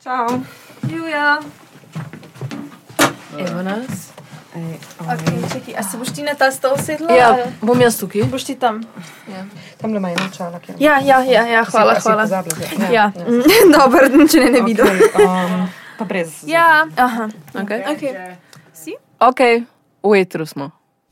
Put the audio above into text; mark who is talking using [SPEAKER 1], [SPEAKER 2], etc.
[SPEAKER 1] Ciao.
[SPEAKER 2] Julia.
[SPEAKER 3] Evo nas.
[SPEAKER 1] Ej,
[SPEAKER 2] Okay, čekaj, a se boš ti na ta stol sedla?
[SPEAKER 3] Ja, bom jaz tukaj.
[SPEAKER 2] Boš ti tam?
[SPEAKER 1] Ja. Tam le ima eno čalo, ki
[SPEAKER 2] Ja, ja, ja, ja hvala, hvala. Ja, dobro, če ne, ne vidim.
[SPEAKER 1] Um, pa brez.
[SPEAKER 2] Ja, aha.
[SPEAKER 3] Okay.
[SPEAKER 2] Okay.
[SPEAKER 3] ok, v etru smo.